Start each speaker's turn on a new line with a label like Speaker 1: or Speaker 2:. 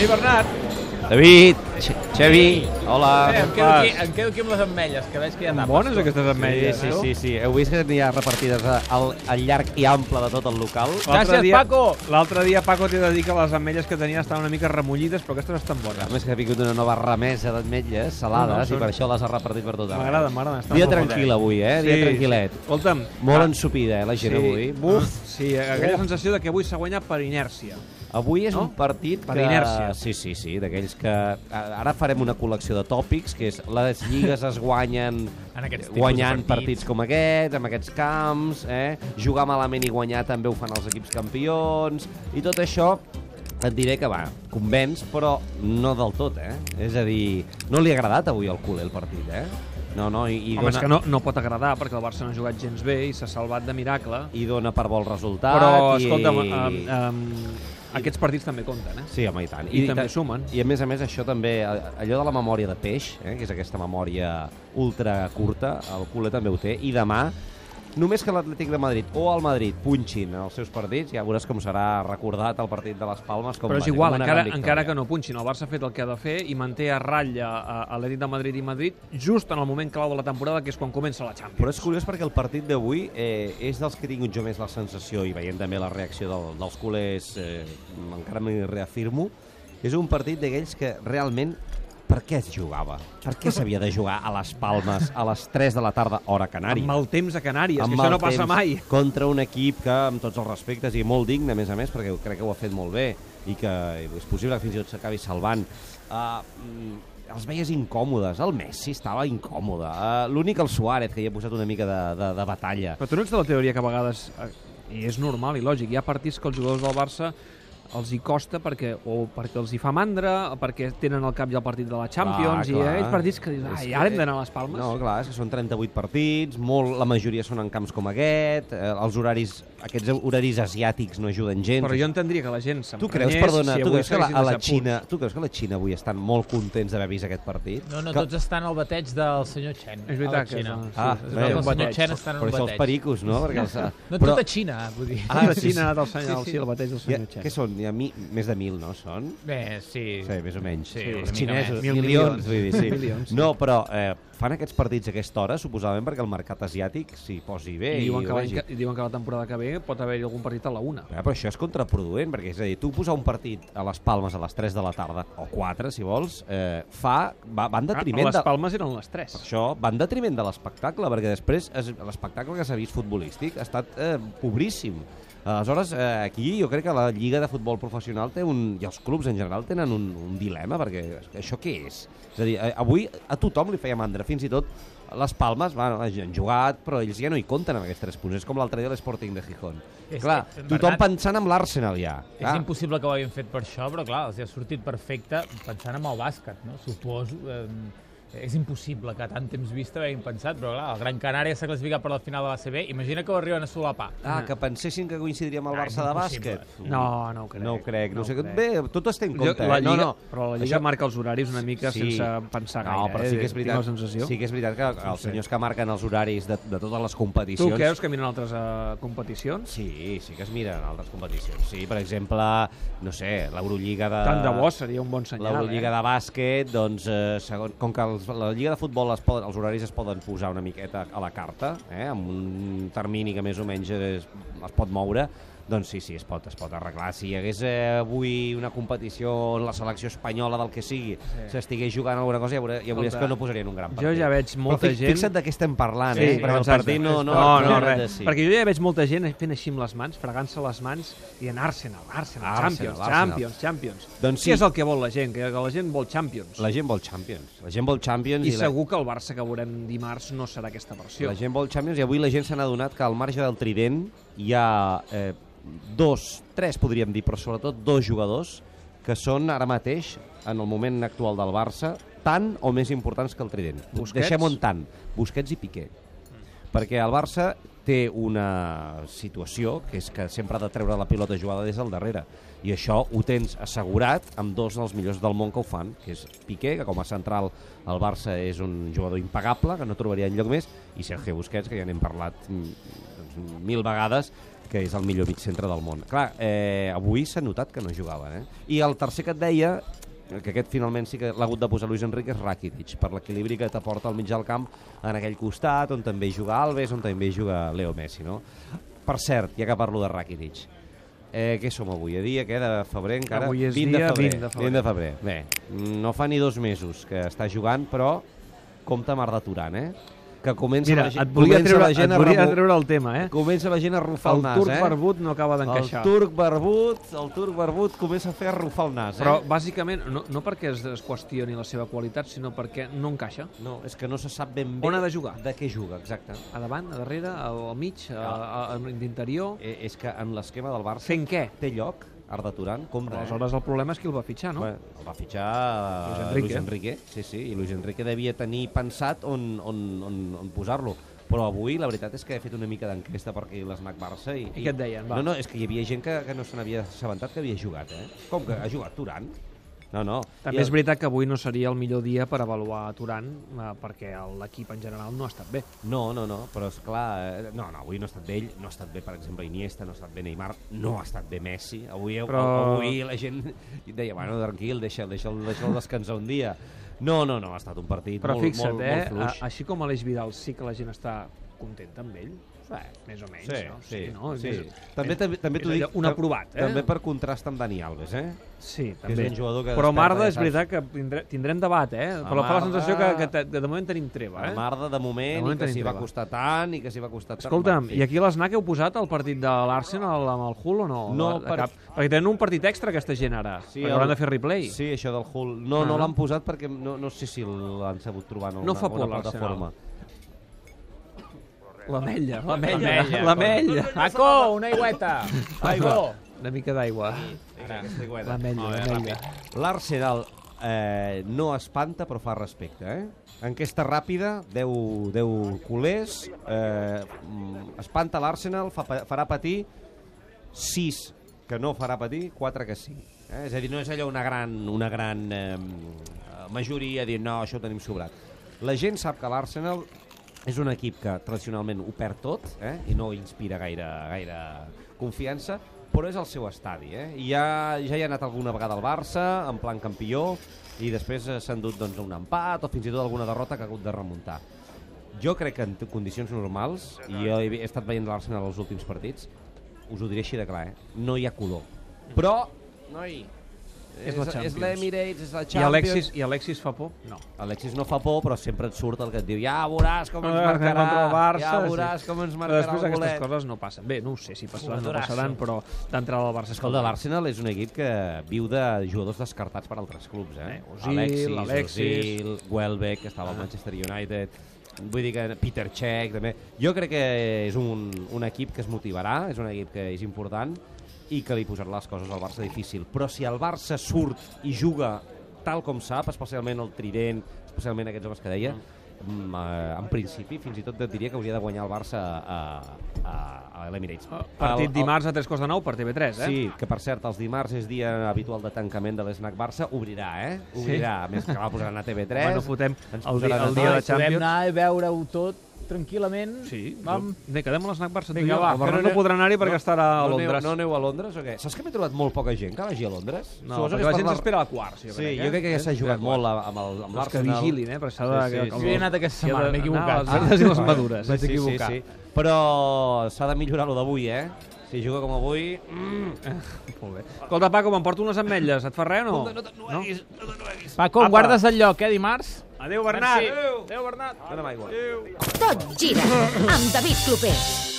Speaker 1: Ei, Bernat,
Speaker 2: David, Xe- Xevi, hola.
Speaker 1: eh, em,
Speaker 2: com
Speaker 1: quedo aquí,
Speaker 2: fas?
Speaker 1: em quedo aquí amb les ametlles, que veig que hi ha tapes.
Speaker 3: Bones aquestes
Speaker 2: Sí,
Speaker 3: ametlles,
Speaker 2: sí,
Speaker 3: no?
Speaker 2: sí, sí. Heu vist que n'hi ha repartides a- al, al llarg i ample de tot el local?
Speaker 3: Oh.
Speaker 1: Gràcies, Paco.
Speaker 3: L'altre dia, Paco, t'he de dir que les ametlles que tenia estaven una mica remollides, però aquestes estan
Speaker 2: A
Speaker 3: bones.
Speaker 2: més que ha vingut una nova remesa d'ametlles
Speaker 3: No, no,
Speaker 2: salades
Speaker 3: són-
Speaker 2: i per això les ha repartit per tot arreu.
Speaker 3: M'agrada, m'agrada. estan
Speaker 2: Dia
Speaker 3: molt bones.
Speaker 2: tranquil avui, eh? Dia tranquil·let.
Speaker 3: Escolta'm,
Speaker 2: Molt
Speaker 3: ah,
Speaker 2: ensupida, eh, la gent avui. Ah.
Speaker 3: Buf, sí, aquella sensació de que avui s'ha guanyat per inèrcia.
Speaker 2: Avui és
Speaker 3: No?
Speaker 2: un partit
Speaker 3: Per
Speaker 2: que...
Speaker 3: inèrcia.
Speaker 2: Sí, sí, sí, d'aquells que... Ara farem una col·lecció de tòpics, que és les lligues es guanyen
Speaker 4: En aquests tipus de
Speaker 2: guanyant
Speaker 4: partits.
Speaker 2: partits com aquests, amb aquests camps, eh? jugar malament i guanyar també ho fan els equips campions, i tot això et diré que va, convenç, però no del tot, eh? És a dir, no li ha agradat avui al culer el partit, eh? No, no, i, i
Speaker 3: Home, és que no, no pot agradar, perquè el Barça no ha jugat gens bé i s'ha salvat de miracle.
Speaker 2: i dona per vol resultat.
Speaker 3: Però,
Speaker 2: i...
Speaker 3: escolta'm, um, um, aquests partits també compten, eh?
Speaker 2: Sí, home, i tant.
Speaker 3: I també sumen.
Speaker 2: I a més a més, això també, eh, allò de la memòria de peix, eh, que és aquesta memòria ultra curta, el culer també ho té, i demà, només que l'Atlètic de Madrid o el Madrid punxin els seus partits, ja veuràs com serà recordat el partit de les Palmes. Com
Speaker 3: Però és
Speaker 2: va ser,
Speaker 3: igual,
Speaker 2: com una
Speaker 3: encara,
Speaker 2: gran victòria.
Speaker 3: encara que no punxin, el Barça ha fet el que ha de fer i manté a ratlla a Atlètic de Madrid i Madrid just en el moment clau de la temporada, que és quan comença la Champions.
Speaker 2: Però és curiós perquè el partit d'avui eh, és dels que he tingut jo més la sensació, i veient també la reacció del, dels culers, eh, encara m'hi reafirmo, és un partit d'aquells que realment per què es jugava? Per què s'havia de jugar a les Palmes a les 3 de la tarda, hora canària?
Speaker 3: Amb el temps a Canàries,
Speaker 2: Amb
Speaker 3: que això
Speaker 2: mal
Speaker 3: no passa
Speaker 2: temps,
Speaker 3: mai.
Speaker 2: Contra un equip que, amb tots els respectes, i molt digne, a més a més, perquè crec que ho ha fet molt bé i que és possible que fins i tot s'acabi salvant. Uh, els veies incòmodes. El Messi estava incòmode. Uh, L'únic el Suárez, que hi ha posat una mica de, de, de batalla.
Speaker 3: Però tu no ets de la teoria que a vegades, eh, i és normal i lògic, hi ha partits que els jugadors del Barça els hi costa perquè o perquè els hi fa mandra, o perquè tenen al cap ja el partit de la Champions, i hi ha aquells partits que dius,
Speaker 2: És
Speaker 3: ai, ara hem d'anar a les Palmes.
Speaker 2: No, clar, és que són 38 partits, molt, la majoria són en camps com aquest, eh, els horaris, aquests horaris asiàtics no ajuden gens.
Speaker 3: Però jo entendria que la gent se'n
Speaker 2: Tu creus,
Speaker 3: prenyés
Speaker 2: perdona,
Speaker 3: si
Speaker 2: tu
Speaker 3: avui
Speaker 2: creus que la, a la
Speaker 3: s'haguessin deixat
Speaker 2: Xina, tu creus que la Xina avui estan molt contents d'haver vist aquest partit?
Speaker 4: No, no,
Speaker 2: que,
Speaker 4: tots estan al bateig del senyor Chen.
Speaker 3: És veritat
Speaker 4: a la
Speaker 3: que
Speaker 4: Xina.
Speaker 3: no, sí,
Speaker 2: Ah,
Speaker 4: es
Speaker 2: bé.
Speaker 4: veu que el senyor
Speaker 3: bateig.
Speaker 4: Chen estan en
Speaker 2: Però
Speaker 4: un
Speaker 2: això els
Speaker 4: bateig.
Speaker 2: pericos, no? Perquè els, eh,
Speaker 4: No,
Speaker 2: però,
Speaker 4: tota Xina, vull dir.
Speaker 2: Ah,
Speaker 3: punts.
Speaker 2: la
Speaker 3: La Xina ha anat al
Speaker 4: Sí,
Speaker 3: senyal,
Speaker 4: sí.
Speaker 3: sí, el bateig del
Speaker 2: ja,
Speaker 3: senyor Txec.
Speaker 2: què són? Hi ha mi, més de mil, no? Són?
Speaker 4: Bé, sí.
Speaker 2: Sí, més o menys.
Speaker 4: Sí, una
Speaker 2: els
Speaker 4: mica
Speaker 2: xinesos,
Speaker 4: més.
Speaker 2: mil
Speaker 3: Mil
Speaker 2: milions,
Speaker 3: milions.
Speaker 2: vull dir, sí.
Speaker 3: Milions, sí.
Speaker 2: No, però eh, fan aquests partits a aquesta hora, suposadament perquè el mercat asiàtic s'hi posi bé.
Speaker 3: I diuen,
Speaker 2: ho
Speaker 3: que l'any
Speaker 2: vegi.
Speaker 3: que, i diuen que la temporada que ve pot haver-hi algun partit a la una.
Speaker 2: Ja, però això és contraproduent, perquè és a dir, tu posar un partit a les Palmes a les 3 de la tarda, o 4, si vols, eh, fa, va, va en
Speaker 3: Ah,
Speaker 2: detriment
Speaker 3: les
Speaker 2: de,
Speaker 3: Palmes eren les 3.
Speaker 2: Per això va en detriment de l'espectacle, perquè després es- l'espectacle que s'ha vist futbolístic ha estat eh, pobríssim. Aleshores, eh, aquí jo crec que la Lliga de Futbol Professional té un... i els clubs en general tenen un, un dilema, perquè això què és? És a dir, eh, avui a tothom li feia mandra, fins i tot les Palmes bueno, han jugat, però ells ja no hi compten amb aquests tres punts. És com l'altre dia l'Sporting de Gijón.
Speaker 4: És-
Speaker 2: Clar,
Speaker 4: és-
Speaker 2: tothom
Speaker 4: Bernat-
Speaker 2: pensant amb l'Arsenal ja.
Speaker 4: És
Speaker 2: Clar.
Speaker 4: impossible que ho hagin fet per això, però clar, els hi ha sortit perfecte pensant en el bàsquet, no? Suposo... Eh, és impossible que a tant temps vista ho hagin pensat, però clar, el Gran Canària s'ha classificat per la final de l'ACB, imagina que ho arriben a solapar.
Speaker 2: Ah, que pensessin que coincidiria amb el
Speaker 4: Ah,
Speaker 2: Barça de
Speaker 4: és impossible.
Speaker 2: bàsquet.
Speaker 3: No, no ho crec.
Speaker 2: No ho crec, no, sé què...
Speaker 3: ho crec.
Speaker 2: Bé, tot es té en
Speaker 3: Jo-
Speaker 2: compte.
Speaker 3: la
Speaker 2: eh?
Speaker 3: Lliga,
Speaker 2: no, no.
Speaker 3: Però la Lliga
Speaker 2: Això-
Speaker 3: marca els horaris una mica sí. sense pensar gaire.
Speaker 2: No, però sí
Speaker 3: eh?
Speaker 2: que és veritat,
Speaker 3: Tinc la sensació.
Speaker 2: sí que és veritat que els senyors que marquen els horaris de, de totes les
Speaker 3: Tu
Speaker 2: competicions...
Speaker 3: creus que miren altres uh, competicions?
Speaker 2: Sí, sí que es miren altres competicions. Sí, per exemple, no sé, l'Eurolliga de...
Speaker 3: Tant de bo seria un bon senyal.
Speaker 2: L'Eurolliga
Speaker 3: eh?
Speaker 2: de bàsquet, doncs, eh, segon, com que els, la Lliga de Futbol es poden, els horaris es poden posar una miqueta a la carta, eh, amb un termini que més o menys es, es pot moure, doncs sí, sí, es pot, es pot arreglar. Si hi hagués eh, avui una competició en la selecció espanyola del que sigui, s'estigués jugant alguna cosa, ja, veure, ja veuries
Speaker 3: Escolta,
Speaker 2: que no posarien un gran
Speaker 3: jo
Speaker 2: partit.
Speaker 3: ja veig molta
Speaker 2: Però fi-
Speaker 3: gent-
Speaker 2: Fixa't de què estem parlant,
Speaker 3: Sí,
Speaker 2: eh? Perquè el
Speaker 3: exacte.
Speaker 2: partit no...
Speaker 3: no, no, res. Perquè jo ja veig molta gent fent així amb les mans, fregant-se les mans i en Arsenal, Arsenal,
Speaker 2: Arsenal,
Speaker 3: Champions,
Speaker 2: Arsenal.
Speaker 3: Champions, Champions.
Speaker 2: Doncs sí.
Speaker 3: Què és el que vol la gent? Que la gent vol Champions.
Speaker 2: La gent vol Champions. La gent vol Champions
Speaker 3: I
Speaker 2: i, la-
Speaker 3: segur que el Barça que veurem dimarts no serà aquesta versió.
Speaker 2: La gent vol Champions i avui la gent s'ha adonat que al marge del Trident hi ha eh, dos, tres podríem dir, però sobretot dos jugadors que són ara mateix, en el moment actual del Barça, tant o més importants que el Trident.
Speaker 3: Busquets?
Speaker 2: Deixem-ho en tant. Busquets i Piqué. Perquè el Barça té una situació que és que sempre ha de treure la pilota jugada des del darrere i això ho tens assegurat amb dos dels millors del món que ho fan que és Piqué, que com a central el Barça és un jugador impagable que no trobaria enlloc més i Sergio Busquets, que ja n'hem parlat mm, doncs, mil vegades que és el millor mig centre del món. Clar, eh, avui s'ha notat que no jugava, eh? I el tercer que et deia, que aquest finalment sí que l'ha hagut de posar Luis Enrique, és Rakitic, per l'equilibri que t'aporta al mig del camp en aquell costat, on també hi juga Alves, on també hi juga Leo Messi, no? Per cert, ja que parlo de Rakitic, eh, què som avui? A dia, què, de febrer encara?
Speaker 3: Avui és
Speaker 2: 20
Speaker 3: dia
Speaker 2: de febrer,
Speaker 3: 20 de febrer.
Speaker 2: 20 de febrer. Bé, no fa ni dos mesos que està jugant, però compta Mar d'Aturant, eh? Que comença
Speaker 3: Mira,
Speaker 2: la gent,
Speaker 3: et volia
Speaker 2: comença
Speaker 3: treure,
Speaker 2: la gent
Speaker 3: et
Speaker 2: a
Speaker 3: volia
Speaker 2: remor-
Speaker 3: treure el tema, eh?
Speaker 2: Comença la gent a rufar el,
Speaker 3: El
Speaker 2: nas,
Speaker 3: turc
Speaker 2: eh?
Speaker 3: barbut no acaba d'encaixar.
Speaker 2: El turc eh? barbut, el turc barbut comença a fer rufar el nas,
Speaker 3: Però,
Speaker 2: eh?
Speaker 3: bàsicament, no, no perquè es, es qüestioni la seva qualitat, sinó perquè no encaixa.
Speaker 2: No, és que no se sap ben bé...
Speaker 3: On ha de jugar?
Speaker 2: De què juga, exacte.
Speaker 3: A davant, a darrere, al, al mig, a, a, a, d'interior...
Speaker 2: Eh, és que en l'esquema del Barça
Speaker 3: Fent què?
Speaker 2: té lloc Arda Turan, com
Speaker 3: Aleshores, el problema és qui el va fitxar, no?
Speaker 2: Eh. Bueno, el va fitxar
Speaker 3: Luis
Speaker 2: Luis
Speaker 3: Enrique.
Speaker 2: Enrique. Luis Enrique. Sí, sí, i Luis Enrique devia tenir pensat on, on, on, on posar-lo. Però avui la veritat és que he fet una mica d'enquesta perquè l'Smac Barça i...
Speaker 3: I què et deien, va?
Speaker 2: No, no, és que hi havia gent que, que no se n'havia assabentat que havia jugat, eh? Com que ha jugat Turan? No, no.
Speaker 3: També
Speaker 2: I
Speaker 3: és
Speaker 2: el-
Speaker 3: veritat que avui no seria el millor dia per avaluar Turan, eh, perquè el- l'equip en general no ha estat bé.
Speaker 2: No, no, no, però és clar, eh, no, no, avui no ha estat bé ell, no ha estat bé, per exemple, Iniesta, no ha estat bé Neymar, no ha estat bé Messi, avui, però...
Speaker 3: Però-
Speaker 2: avui la gent deia, bueno, tranquil, deixa'l deixa, deixa descansar un dia. No, no, no, ha estat un partit
Speaker 3: Però
Speaker 2: molt,
Speaker 3: fixa't,
Speaker 2: molt,
Speaker 3: eh?
Speaker 2: molt fluix.
Speaker 3: a- així com Aleix Vidal sí que la gent està contenta amb ell, més o menys,
Speaker 2: Sí,
Speaker 3: no?
Speaker 2: sí,
Speaker 3: no? És
Speaker 2: sí.
Speaker 3: més-
Speaker 2: També, també, també
Speaker 3: és
Speaker 2: t'ho dic...
Speaker 3: allò, un
Speaker 2: tam-
Speaker 3: aprovat, eh?
Speaker 2: També per contrast amb Dani Alves, eh?
Speaker 3: Sí,
Speaker 2: és
Speaker 3: també.
Speaker 2: un jugador que
Speaker 3: Però
Speaker 2: desperta
Speaker 3: Marda
Speaker 2: ja
Speaker 3: és
Speaker 2: saps.
Speaker 3: veritat que tindrem, tindrem debat, eh? Però fa la
Speaker 2: Marda-
Speaker 3: sensació que, que, te- que de moment tenim treva,
Speaker 2: La
Speaker 3: eh?
Speaker 2: Marda, de moment,
Speaker 3: moment
Speaker 2: i que
Speaker 3: tenim
Speaker 2: s'hi va
Speaker 3: treva.
Speaker 2: costar tant, i que s'hi va costar tant...
Speaker 3: Escolta'm, i
Speaker 2: Bueno, en fi.
Speaker 3: aquí a l'Snac heu posat el partit de l'Arsenal amb el Hull o no?
Speaker 2: No,
Speaker 3: De
Speaker 2: per-
Speaker 3: cap? perquè tenen un partit extra aquesta gent ara, sí, perquè
Speaker 2: el-
Speaker 3: hauran de fer replay.
Speaker 2: Sí, això del Hull. No,
Speaker 3: Ah.
Speaker 2: no l'han posat perquè no, no sé si l'han sabut trobar en
Speaker 3: No
Speaker 2: alguna,
Speaker 3: fa por,
Speaker 2: alguna
Speaker 3: l'Arsenal.
Speaker 2: plataforma.
Speaker 3: L'amella, l'amella,
Speaker 4: L'amella.
Speaker 3: l'amella.
Speaker 4: Paco, una aigüeta. Paco.
Speaker 3: Una mica d'aigua.
Speaker 4: Ara.
Speaker 3: L'amella,
Speaker 4: Molt bé,
Speaker 3: l'amella.
Speaker 2: L'Arsenal eh, no espanta però fa respecte, eh? Enquesta ràpida, 10, 10 culers, eh, mm, espanta l'Arsenal, fa, pa- farà patir 6 que no farà patir, 4 que sí. Eh? És a dir, no és allò una gran, una gran eh, majoria dir no, això ho tenim sobrat. La gent sap que l'Arsenal és un equip que tradicionalment ho perd tot eh? i no inspira gaire, gaire confiança, però és el seu estadi. Eh? I ja, ja hi ha anat alguna vegada al Barça, en plan campió, i després eh, s'ha endut doncs, a un empat o fins i tot alguna derrota que ha hagut de remuntar. Jo crec que en t- condicions normals, i jo he he estat veient l'Arsenal els últims partits, us ho diré així de clar, eh? no hi ha color. Però, noi,
Speaker 3: És la Champions.
Speaker 2: És l'Emirates, és la
Speaker 3: I
Speaker 2: Champions...
Speaker 3: Alexis, I Alexis fa por? No.
Speaker 2: Alexis no fa por, però sempre et surt el que et diu ja veuràs com ens
Speaker 3: Ah,
Speaker 2: marcarà,
Speaker 3: contra el Barça,
Speaker 2: ja veuràs com ens
Speaker 3: Però
Speaker 2: marcarà
Speaker 3: després
Speaker 2: el
Speaker 3: aquestes
Speaker 2: bolet.
Speaker 3: coses no passen. Bé, no ho sé si passaran o no
Speaker 4: Jugadorazo.
Speaker 3: passaran, però d'entrada el Barça és
Speaker 2: Escolta,
Speaker 3: com-
Speaker 2: l'Arsenal és un equip que viu de jugadors descartats per altres clubs, eh?
Speaker 3: Eh, Ozil, Alexis.
Speaker 2: Ozil, Welbeck, que estava al Manchester United, vull dir que Peter Cech, també. Jo crec que és un, un equip que es motivarà, és un equip que és important i que li posarà les coses al Barça difícil. Però si el Barça surt i juga tal com sap, especialment el Trident, especialment aquests homes que deia, mm, eh, en principi, fins i tot et diria que hauria de guanyar el Barça a, a, a l'Emirates.
Speaker 3: Ah, Partit
Speaker 2: El- el-
Speaker 3: dimarts a tres quarts de nou per TV3, eh?
Speaker 2: Sí, que per cert, els dimarts és dia habitual de tancament de l'Snac Barça. Obrirà, eh? Obrirà. Sí? Més que va posar a TV3.
Speaker 3: Bueno, fotem
Speaker 2: Ens
Speaker 3: el, dia, el
Speaker 2: posaran
Speaker 3: dia
Speaker 2: a tot.
Speaker 3: de
Speaker 4: Podem
Speaker 3: Champions.
Speaker 4: anar a veure-ho tot tranquil·lament.
Speaker 3: Sí,
Speaker 4: Vam...
Speaker 3: Bé, quedem a l'Snac Barça. tu i jo.
Speaker 4: Vinga, va,
Speaker 3: el
Speaker 4: que
Speaker 3: Bernat no, podrà anar-hi perquè estarà a
Speaker 2: no
Speaker 3: Londres.
Speaker 2: Aneu, no aneu a Londres o què? Saps que m'he trobat molt poca gent que vagi a Londres?
Speaker 3: No,
Speaker 2: Suposo
Speaker 3: perquè
Speaker 2: que
Speaker 3: la gent
Speaker 2: per
Speaker 3: s'espera a quarts, jo
Speaker 2: Sí,
Speaker 3: crec, eh?
Speaker 2: jo crec que ja s'ha jugat
Speaker 3: Sí,
Speaker 2: molt a- amb el- amb
Speaker 3: Doncs que
Speaker 2: l'Arsenal.
Speaker 3: vigilin, eh, perquè s'ha de...
Speaker 2: Sí, sí,
Speaker 3: que-
Speaker 2: sí.
Speaker 4: Jo hi he anat aquesta
Speaker 3: que ha
Speaker 4: setmana,
Speaker 3: de-
Speaker 4: m'he equivocat.
Speaker 3: anar a Les verdes i les
Speaker 2: Ah,
Speaker 3: madures, eh? vaig
Speaker 2: sí, sí,
Speaker 3: equivocar.
Speaker 2: sí. Però s'ha de millorar lo d'avui, eh? Si juga com avui... Mm.
Speaker 3: Molt bé. Escolta, Paco, m'emporto unes ametlles. Et fa res o no? No?
Speaker 4: Paco,
Speaker 3: Apa.
Speaker 4: em guardes el lloc, eh, dimarts?
Speaker 3: Adéu, Bernat.
Speaker 4: Adéu, Bernat.
Speaker 2: Dona'm aigua.
Speaker 5: Tot gira amb David Clopés.